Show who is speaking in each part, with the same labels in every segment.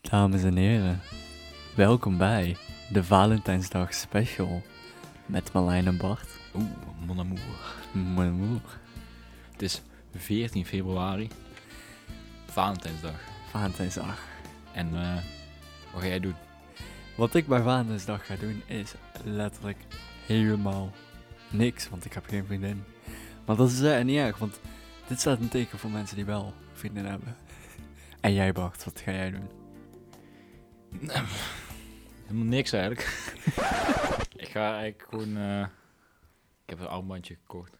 Speaker 1: Dames en heren, welkom bij de Valentijnsdag Special met Marlijn en Bart.
Speaker 2: Oeh, mon amour.
Speaker 1: Mijn moeder.
Speaker 2: Het is 14 februari, Valentijnsdag.
Speaker 1: Valentijnsdag.
Speaker 2: En eh, wat ga jij doen?
Speaker 1: Wat ik bij Valentijnsdag ga doen is letterlijk helemaal niks, want ik heb geen vriendin. Maar dat is eh, niet erg, want dit staat een teken voor mensen die wel vrienden hebben. En jij Bart, wat ga jij doen?
Speaker 2: Helemaal niks eigenlijk. ik ga eigenlijk gewoon... eh, ik heb een armbandje gekocht.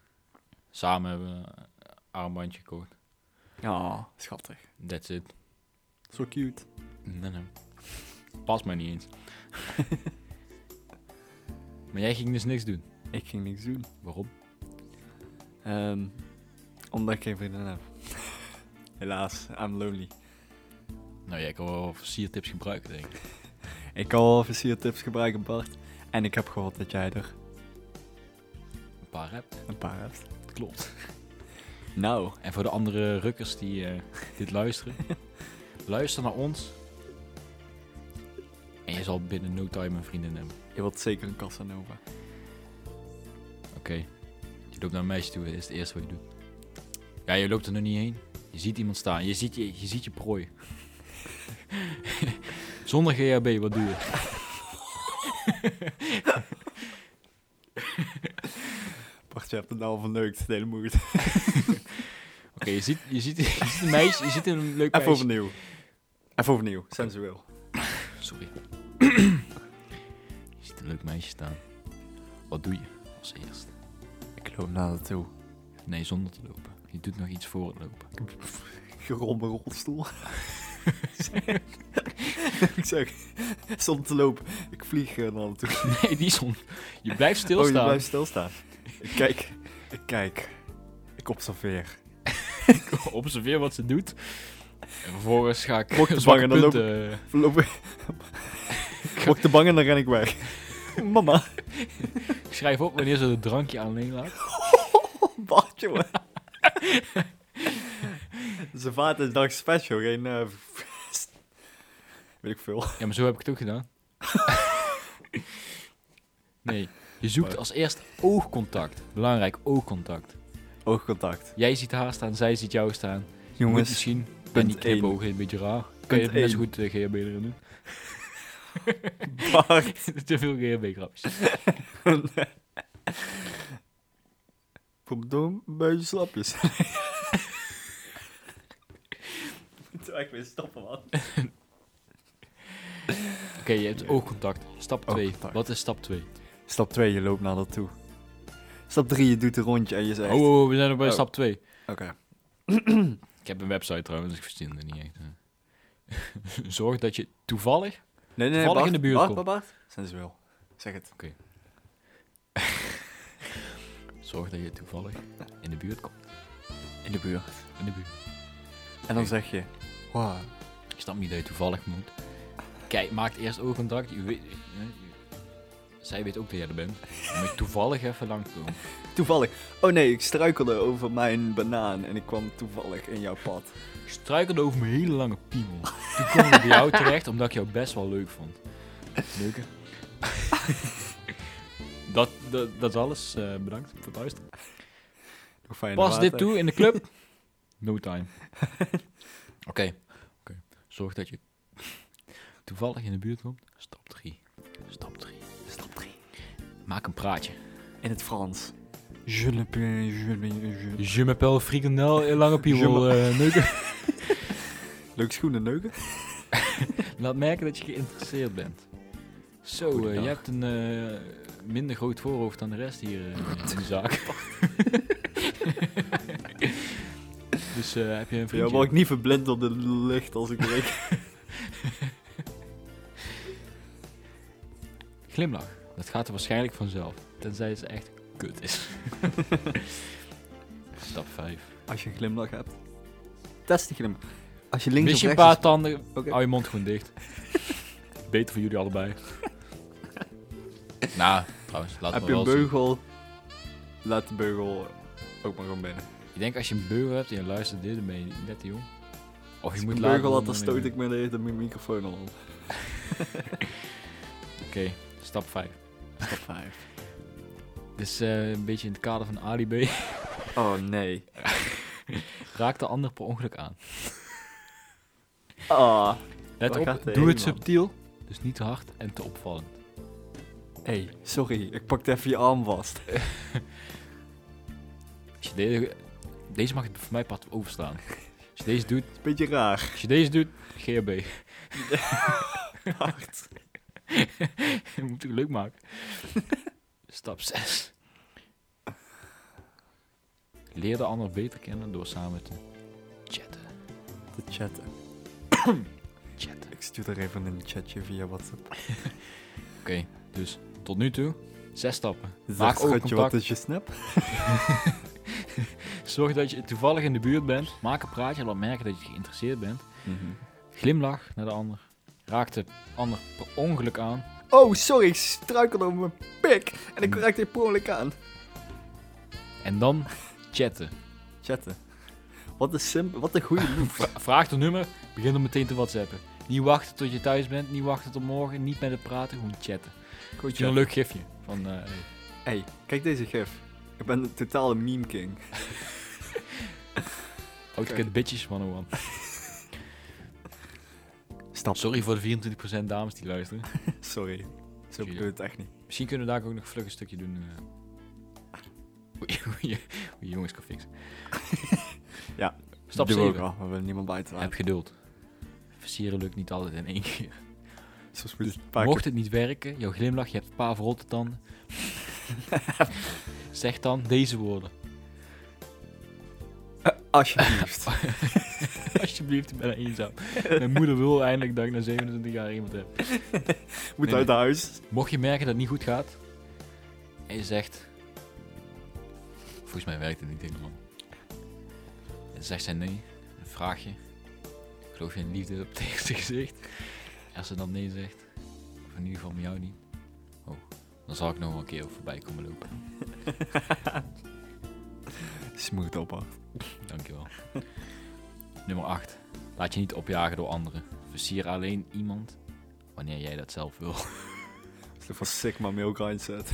Speaker 2: Samen hebben we een armbandje gekocht.
Speaker 1: Oh, schattig.
Speaker 2: That's it.
Speaker 1: Zo cute.
Speaker 2: Nee, nee. Pas mij niet eens. maar jij ging dus niks doen.
Speaker 1: Ik ging niks doen,
Speaker 2: Waarom?
Speaker 1: Ehm, omdat ik geen vriendin heb. Helaas, I'm lonely.
Speaker 2: Nou, jij kan wel versiertips gebruiken, denk ik.
Speaker 1: Ik kan wel versiertips gebruiken, Bart. En ik heb gehoord dat jij er
Speaker 2: Een paar hebt,
Speaker 1: een paar hebt.
Speaker 2: klopt.
Speaker 1: Nou,
Speaker 2: En voor de andere rukkers die eh, dit luisteren, luister naar ons. En je zal binnen no time een vriendin hebben.
Speaker 1: je wordt zeker een Casanova.
Speaker 2: Oké. Je loopt naar een meisje toe, dat is het eerste wat je doet. Ja, je loopt er nog niet heen. Je ziet iemand staan. Je ziet je, je, ziet je prooi. Zonder GHB, wat doe je?
Speaker 1: Bart, je hebt het nou al verneukt, het hele moed.
Speaker 2: Oké, je, ziet, je, ziet, je ziet een meisje, je ziet een leuk
Speaker 1: Even
Speaker 2: meisje.
Speaker 1: overnieuw. Even overnieuw, sensueel.
Speaker 2: Sorry. je ziet een leuk meisje staan. Wat doe je als eerst?
Speaker 1: Ik loop naar haar toe.
Speaker 2: Nee, zonder te lopen. Je doet nog iets voor het lopen.
Speaker 1: Gerombe rolstoel. ik zeg, stond te lopen. Ik vlieg eh, naar haar toe.
Speaker 2: Nee, die zon. Je blijft
Speaker 1: Oh, je
Speaker 2: stilstaan.
Speaker 1: blijft stilstaan. Ik kijk, ik kijk. Ik observeer.
Speaker 2: Observeer wat ze doet. En vervolgens ga ik
Speaker 1: Word je
Speaker 2: zwakke
Speaker 1: bang en dan
Speaker 2: punten... eh,
Speaker 1: Lopen. Word te bang en dan ren ik weg. Mama.
Speaker 2: Ik schrijf op wanneer ze het drankje alleen laat.
Speaker 1: Bart, jongen. Zijn vaderdag special, geen... eh, weet ik veel.
Speaker 2: Ja, maar zo heb ik het ook gedaan. nee, je zoekt als eerst oogcontact. Belangrijk, oogcontact.
Speaker 1: Oogcontact.
Speaker 2: Jij ziet haar staan, zij ziet jou staan. Je moet
Speaker 1: Jongens,
Speaker 2: misschien ben
Speaker 1: punt
Speaker 2: die knipogen een beetje raar. Kan je
Speaker 1: Punt
Speaker 2: het net zo
Speaker 1: één.
Speaker 2: goed eh, GHB erin doen?
Speaker 1: Bart.
Speaker 2: Te veel GHB-grapjes.
Speaker 1: Kom door, een beetje slapjes. Moet ik weer stoppen, man.
Speaker 2: Oké, je hebt oogcontact. Stap 2.
Speaker 1: Oogcontact.
Speaker 2: Wat is stap 2?
Speaker 1: Stap 2, je loopt naar dat toe. Stap 3, je doet een rondje en je
Speaker 2: Oh,
Speaker 1: zegt... Oké.
Speaker 2: oh, we zijn nog bij
Speaker 1: Oh.
Speaker 2: stap 2. Ik heb een website trouwens, dus ik verzin het niet echt. hè. Zorg dat je toevallig...
Speaker 1: Nee, nee,
Speaker 2: Toevallig
Speaker 1: Bart,
Speaker 2: in de buurt
Speaker 1: Bart,
Speaker 2: komt.
Speaker 1: Bart, Bart. Sensueel. Zeg het.
Speaker 2: Zorg dat je toevallig in de buurt komt.
Speaker 1: In de buurt.
Speaker 2: In de buurt.
Speaker 1: En dan zeg je... Wow.
Speaker 2: Ik snap niet dat je toevallig moet. Kijk, maak eerst oogcontact. Je weet, hè, je- zij weet ook dat jij er bent. Je moet toevallig even langskomen.
Speaker 1: Toevallig. Oh nee, ik struikelde over mijn banaan en ik kwam toevallig in jouw pad.
Speaker 2: Ik struikelde over mijn hele lange piemel. Toen kwam ik bij jou terecht, omdat ik jou best wel leuk vond. Leuk, hè? dat, dat, dat is alles. Eh, bedankt voor het luisteren.
Speaker 1: Nog fijne
Speaker 2: Pas
Speaker 1: water.
Speaker 2: dit toe in de club. No time. Oké. Oké. Zorg dat je toevallig in de buurt komt. Stap 3. Stap 3.
Speaker 1: Stap 3.
Speaker 2: Maak een praatje.
Speaker 1: In het Frans. Je ne peux, je ne je-
Speaker 2: Je m'appelle Frikandel in lange
Speaker 1: Je
Speaker 2: piemel. eh, neuken.
Speaker 1: Leuk schoenen neuken?
Speaker 2: Laat merken dat je geïnteresseerd bent. Zo, eh,
Speaker 1: Goedendag.
Speaker 2: je hebt een eh, minder groot voorhoofd dan de rest hier eh, in de zaak. dus eh, heb je een
Speaker 1: Ja,
Speaker 2: vriendje?
Speaker 1: word ik niet verblind door de licht als ik drink.
Speaker 2: Glimlach. Dat gaat er waarschijnlijk vanzelf. Tenzij ze echt kut is. Stap 5.
Speaker 1: als je een glimlach hebt. Test die glimlach. Als je links
Speaker 2: Mis je
Speaker 1: of
Speaker 2: een
Speaker 1: rechts...
Speaker 2: paar tanden,
Speaker 1: Oké.
Speaker 2: hou je mond gewoon dicht. Beter voor jullie allebei. nou, trouwens, laat
Speaker 1: heb
Speaker 2: me
Speaker 1: je een
Speaker 2: wel zien.
Speaker 1: beugel, laat de beugel ook maar gewoon binnen.
Speaker 2: Ik denk als je een beugel hebt en je luistert dit, dan ben je net te jong. Of je
Speaker 1: Als ik
Speaker 2: moet
Speaker 1: een
Speaker 2: laten
Speaker 1: beugel had, dan
Speaker 2: wandelen.
Speaker 1: stoot ik me de hele tijd mijn microfoon al op.
Speaker 2: Oké, stap 5.
Speaker 1: Stap 5.
Speaker 2: Dit is eh, een beetje in het kader van Ali B.
Speaker 1: Oh nee.
Speaker 2: Raak de ander per ongeluk aan.
Speaker 1: Ah.
Speaker 2: Let
Speaker 1: Waar
Speaker 2: op,
Speaker 1: gaat hij
Speaker 2: doe het
Speaker 1: heen, man?
Speaker 2: subtiel, dus niet te hard en te opvallend.
Speaker 1: hey, sorry, ik pakte even je arm vast.
Speaker 2: Als je deze, deze mag je voor mij part overslaan. Als je deze doet,
Speaker 1: Beetje raar.
Speaker 2: als je deze doet, GHB.
Speaker 1: Hard.
Speaker 2: Je moet het leuk maken. Stap 6. Leer de ander beter kennen door samen te chatten.
Speaker 1: Te chatten.
Speaker 2: chatten.
Speaker 1: Ik stuur er even een chatje via WhatsApp.
Speaker 2: Oké, dus tot nu toe. Zes stappen.
Speaker 1: Zeg,
Speaker 2: Maak ook
Speaker 1: schatje, wat
Speaker 2: contact.
Speaker 1: is je snap?
Speaker 2: Zorg dat je toevallig in de buurt bent. Maak een praatje. Laat merken dat je geïnteresseerd bent.
Speaker 1: Mhm.
Speaker 2: Glimlach naar de ander. Raak de ander per ongeluk aan.
Speaker 1: Oh, sorry, ik struikelde over mijn pik. En ik raakte je per ongeluk aan.
Speaker 2: En dan chatten.
Speaker 1: Chatten. Wat een simpel, wat een goede move.
Speaker 2: Vra- Vraag de nummer. Begin dan meteen te whatsappen. Niet wachten tot je thuis bent. Niet wachten tot morgen. Niet met het praten. Gewoon chatten.
Speaker 1: Goed,
Speaker 2: Ik vind
Speaker 1: joh.
Speaker 2: een leuk gifje. Van, eh,
Speaker 1: Hey, kijk deze gif. Ik ben een totale meme king.
Speaker 2: Autocad Bitches 101.
Speaker 1: Stap.
Speaker 2: Sorry voor de 24% dames die luisteren.
Speaker 1: Sorry. Zo bedoel ik het echt niet.
Speaker 2: Misschien kunnen we daar ook nog vlug een stukje doen. eh, Hoe je- hoe je- hoe je jongens kan fixen.
Speaker 1: Ja,
Speaker 2: Stap
Speaker 1: Doe
Speaker 2: 7.
Speaker 1: ook al, we willen niemand bij te
Speaker 2: Heb
Speaker 1: laten.
Speaker 2: geduld. Versieren lukt niet altijd in één keer.
Speaker 1: Soms moet je het een paar
Speaker 2: Dus Mocht het niet werken, jouw glimlach, je hebt een paar verrotte tanden. zeg dan deze woorden.
Speaker 1: keer- Eh, Alsjeblieft.
Speaker 2: Alsjeblieft, ik ben eenzaam. Mijn moeder wil eindelijk dat ik na 27 jaar iemand heb.
Speaker 1: Moet
Speaker 2: Nee,
Speaker 1: uit huis.
Speaker 2: Mocht je merken dat het niet goed gaat, en je zegt... Volgens mij werkt het niet helemaal. En zegt zij nee, en vraag je... Geloof je in liefde op het eerste gezicht? En als ze dan nee zegt, of in ieder geval met jou niet... Oh, dan zal ik nog wel een keer voorbij komen lopen.
Speaker 1: Smooth op, hoor.
Speaker 2: Dankjewel. Nummer 8. Laat je niet opjagen door anderen. Versier alleen iemand wanneer jij dat zelf wil.
Speaker 1: Als je van Sigma milk mindset.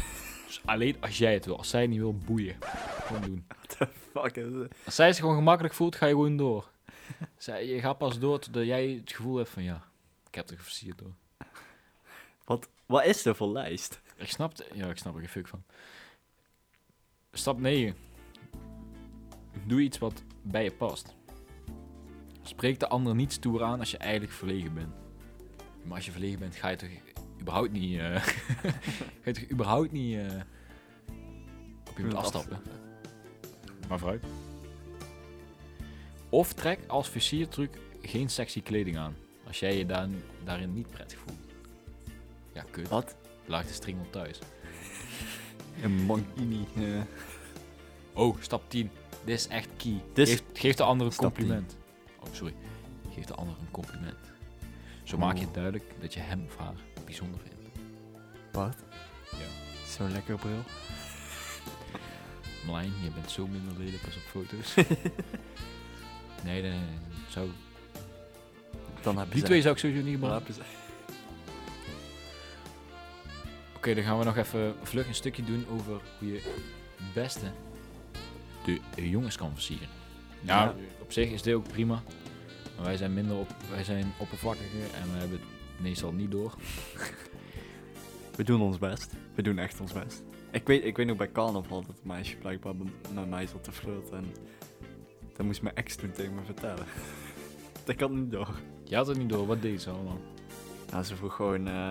Speaker 2: Dus alleen als jij het wil. Als zij het niet wil, boeien. Gewoon doen.
Speaker 1: Fuck is het?
Speaker 2: Als zij zich gewoon gemakkelijk voelt, ga je gewoon door. Zij, je gaat pas door totdat jij het gevoel hebt van ja, ik heb er geversierd door.
Speaker 1: Wat, wat is er voor lijst?
Speaker 2: Ik snap het. Ja, ik snap er geen fuck van. Stap 9. Doe iets wat bij je past. Spreek de ander niet stoer aan als je eigenlijk verlegen bent. Maar als je verlegen bent, ga je toch überhaupt niet... eh, ga je toch überhaupt niet eh, op iemand
Speaker 1: Iemand
Speaker 2: afstappen. Maar vooruit. Of trek als versiertruc geen sexy kleding aan. Als jij je daar, daarin niet prettig voelt. Ja, kut.
Speaker 1: Wat?
Speaker 2: Laat de string op thuis.
Speaker 1: Een mankini. eh.
Speaker 2: Oh, stap 10. Dit is echt key.
Speaker 1: Dit is-
Speaker 2: geef, geef de ander een
Speaker 1: Stap
Speaker 2: compliment. Oh, sorry. Geef de ander een compliment. Zo maak je
Speaker 1: Oeh.
Speaker 2: het duidelijk dat je hem of haar bijzonder vindt.
Speaker 1: Wat?
Speaker 2: Ja.
Speaker 1: Zo'n lekker bril.
Speaker 2: Marlijn, je bent zo minder lelijk als op foto's. nee, nee, nee. Zo.
Speaker 1: Dan heb je
Speaker 2: Die
Speaker 1: ze.
Speaker 2: twee zou ik sowieso niet
Speaker 1: Dan
Speaker 2: gebruiken.
Speaker 1: heb je ze.
Speaker 2: Oké, dan gaan we nog even vlug een stukje doen over hoe je het beste de jongens kan versieren. Nou,
Speaker 1: Ja.
Speaker 2: op zich is dit ook prima. Maar wij zijn minder op, wij zijn oppervlakkiger en we hebben het meestal niet door.
Speaker 1: We doen ons best. We doen echt ons best. Ik weet, ik weet nog bij carnaval dat een meisje blijkbaar m- met mij zat te flirten. En dat moest mijn ex toen tegen me vertellen. dat kan niet door.
Speaker 2: Je had het niet door, wat deed ze allemaal?
Speaker 1: Nou, ze vroeg gewoon eh,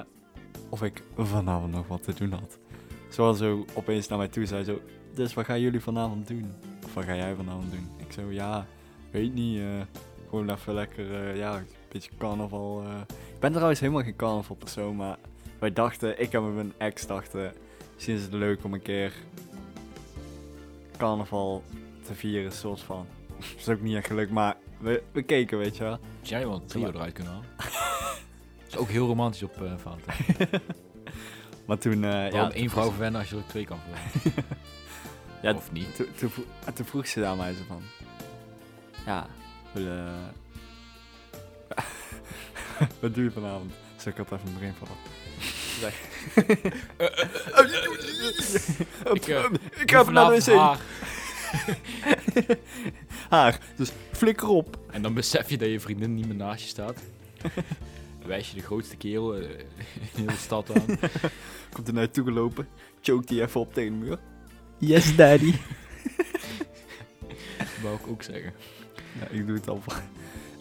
Speaker 1: of ik vanavond nog wat te doen had. Ze was zo opeens naar mij toe. Zei zo, dus wat gaan jullie vanavond doen? Of wat ga jij vanavond doen? Ik zo, ja, weet niet. eh, gewoon even lekker, eh, ja, een beetje carnaval. eh." Ik ben trouwens helemaal geen carnaval persoon, maar wij dachten, ik en mijn ex dachten, misschien is het leuk om een keer carnaval te vieren, soort van. Dat is ook niet echt gelukt, maar we, we keken, weet je wel.
Speaker 2: Zou jij wel een trio eruit kunnen halen? Dat is ook heel romantisch op eh fouten.
Speaker 1: Maar toen, eh,
Speaker 2: Waarom
Speaker 1: ja,
Speaker 2: één vrouw verwennen als je er twee kan verwennen?
Speaker 1: Ja,
Speaker 2: of niet?
Speaker 1: ah, Toen, toen, vro- toen vroeg ze daar mij zo van. Ja, wil, eh, Wat doe je vanavond? Zal ik altijd even mijn brein vallen?
Speaker 2: Ik, eh,
Speaker 1: ik ga even naar de wc.
Speaker 2: haar.
Speaker 1: Haar. Dus flikker op.
Speaker 2: En dan besef je dat je vriendin niet meer naast je staat. Dan Wijs je de grootste kerel eh, in de stad aan.
Speaker 1: Komt er naar je toe gelopen. Choke die even op tegen de muur. Yes, daddy.
Speaker 2: Dat wou ik ook zeggen.
Speaker 1: Ja, ik doe het al.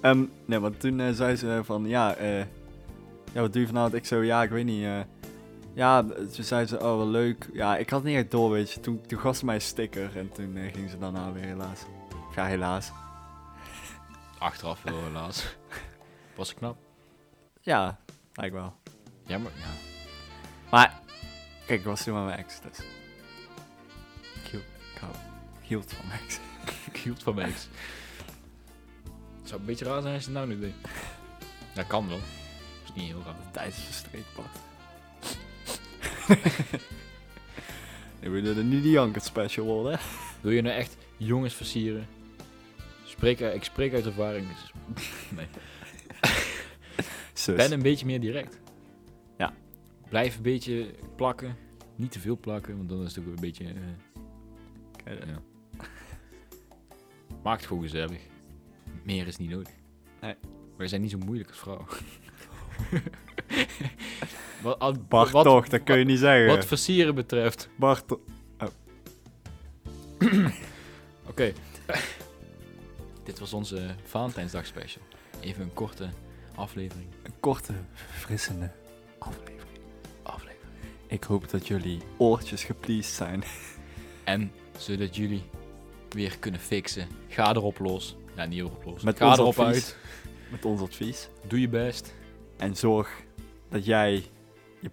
Speaker 1: Ehm, nee, want toen eh, zei ze van, ja, eh, ja, wat doe je vanavond? Ik zo, ja, ik weet niet. eh. ja, toen zei ze, oh, wel leuk. Ja, ik had het niet echt door, weet je. Toen, toen gaf ze mij een sticker en toen eh, ging ze daarna weer, helaas. Of Ja, helaas.
Speaker 2: Achteraf wel helaas. Was ik knap?
Speaker 1: Ja, lijkt wel.
Speaker 2: Ja, maar ja.
Speaker 1: Maar, kijk, ik was toen met mijn ex, dus. Ik hield, ik hou- ik hield van mijn ex.
Speaker 2: Ik hield van mijn ex. Het zou een beetje raar zijn als je het nou niet deed. Dat kan wel. is niet heel raar.
Speaker 1: Tijd is verstreekt, Bart. Ik bedoel, dat niet die Jankert special worden, hè?
Speaker 2: Wil je nou echt jongens versieren? Spreek, uit- ik spreek uit ervaring. dus
Speaker 1: Zus.
Speaker 2: Ben een beetje meer direct.
Speaker 1: Dus- Ja.
Speaker 2: Blijf een beetje plakken. Niet te veel plakken, want dan is het ook een beetje... eh,
Speaker 1: Kijk,
Speaker 2: ja. Maak het gewoon gezellig. Meer is niet nodig.
Speaker 1: Nee.
Speaker 2: Wij zijn niet zo moeilijk als vrouw. wat, al-
Speaker 1: Bart
Speaker 2: wat-
Speaker 1: toch, dat kun je niet zeggen.
Speaker 2: Wat versieren betreft.
Speaker 1: Bart toch-
Speaker 2: Oké. Dit was onze Valentijnsdag special. Even een korte aflevering.
Speaker 1: Een korte, verfrissende aflevering.
Speaker 2: Aflevering.
Speaker 1: Ik hoop dat jullie oortjes gepleased zijn.
Speaker 2: En zodat jullie weer kunnen fixen. Ga erop los. Ja, niet erop los.
Speaker 1: Met
Speaker 2: Ga
Speaker 1: ons
Speaker 2: erop
Speaker 1: advies.
Speaker 2: uit.
Speaker 1: Met ons advies.
Speaker 2: Doe je best.
Speaker 1: En zorg dat jij je,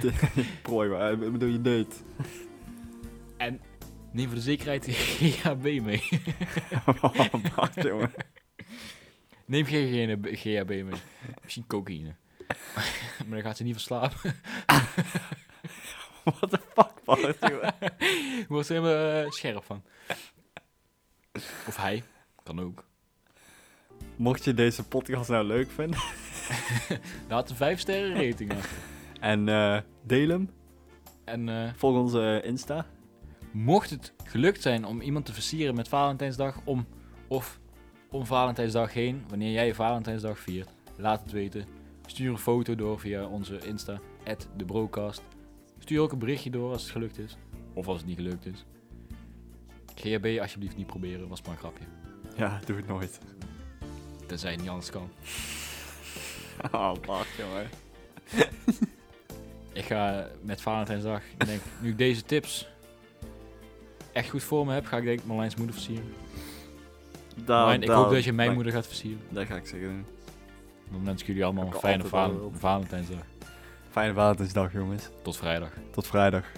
Speaker 1: de, je prooi, wa- eh, ik bedoel je date.
Speaker 2: Neem voor de zekerheid GHB mee.
Speaker 1: Oh, Bart, jongen.
Speaker 2: Neem geen GHB GHB mee. Misschien cocaïne. maar dan gaat ze niet van slapen.
Speaker 1: What the fuck, Bart, jongen.
Speaker 2: Wordt ze helemaal eh, scherp van. Of hij. Kan ook.
Speaker 1: Mocht je deze podcast nou leuk vinden
Speaker 2: Laat een 5 sterren rating achter.
Speaker 1: en eh, deel hem,
Speaker 2: En eh,
Speaker 1: volg onze Insta.
Speaker 2: Mocht het gelukt zijn om iemand te versieren met Valentijnsdag om of om Valentijnsdag heen, wanneer jij Valentijnsdag viert, laat het weten. Stuur een foto door via onze Insta, @debrocast. Stuur ook een berichtje door als het gelukt is, of als het niet gelukt is. GHB alsjeblieft niet proberen, was maar een grapje.
Speaker 1: Ja, doe het nooit.
Speaker 2: Tenzij het niet anders kan.
Speaker 1: Oh, Bart, jongen.
Speaker 2: Ik ga met Valentijnsdag, ik denk, nu ik deze tips echt goed voor me heb, ga ik denk ik Marlijn's moeder versieren.
Speaker 1: Daar-
Speaker 2: Marlijn, ik
Speaker 1: daar-
Speaker 2: hoop dat je mijn
Speaker 1: daar-
Speaker 2: moeder gaat versieren.
Speaker 1: Dat ga ik zeker doen.
Speaker 2: Dan wens ik jullie allemaal een
Speaker 1: Ik kan
Speaker 2: fijne
Speaker 1: altijd wel
Speaker 2: val-
Speaker 1: hulp.
Speaker 2: Valentijnsdag.
Speaker 1: Fijne Valentijnsdag, jongens.
Speaker 2: Tot vrijdag.
Speaker 1: Tot vrijdag.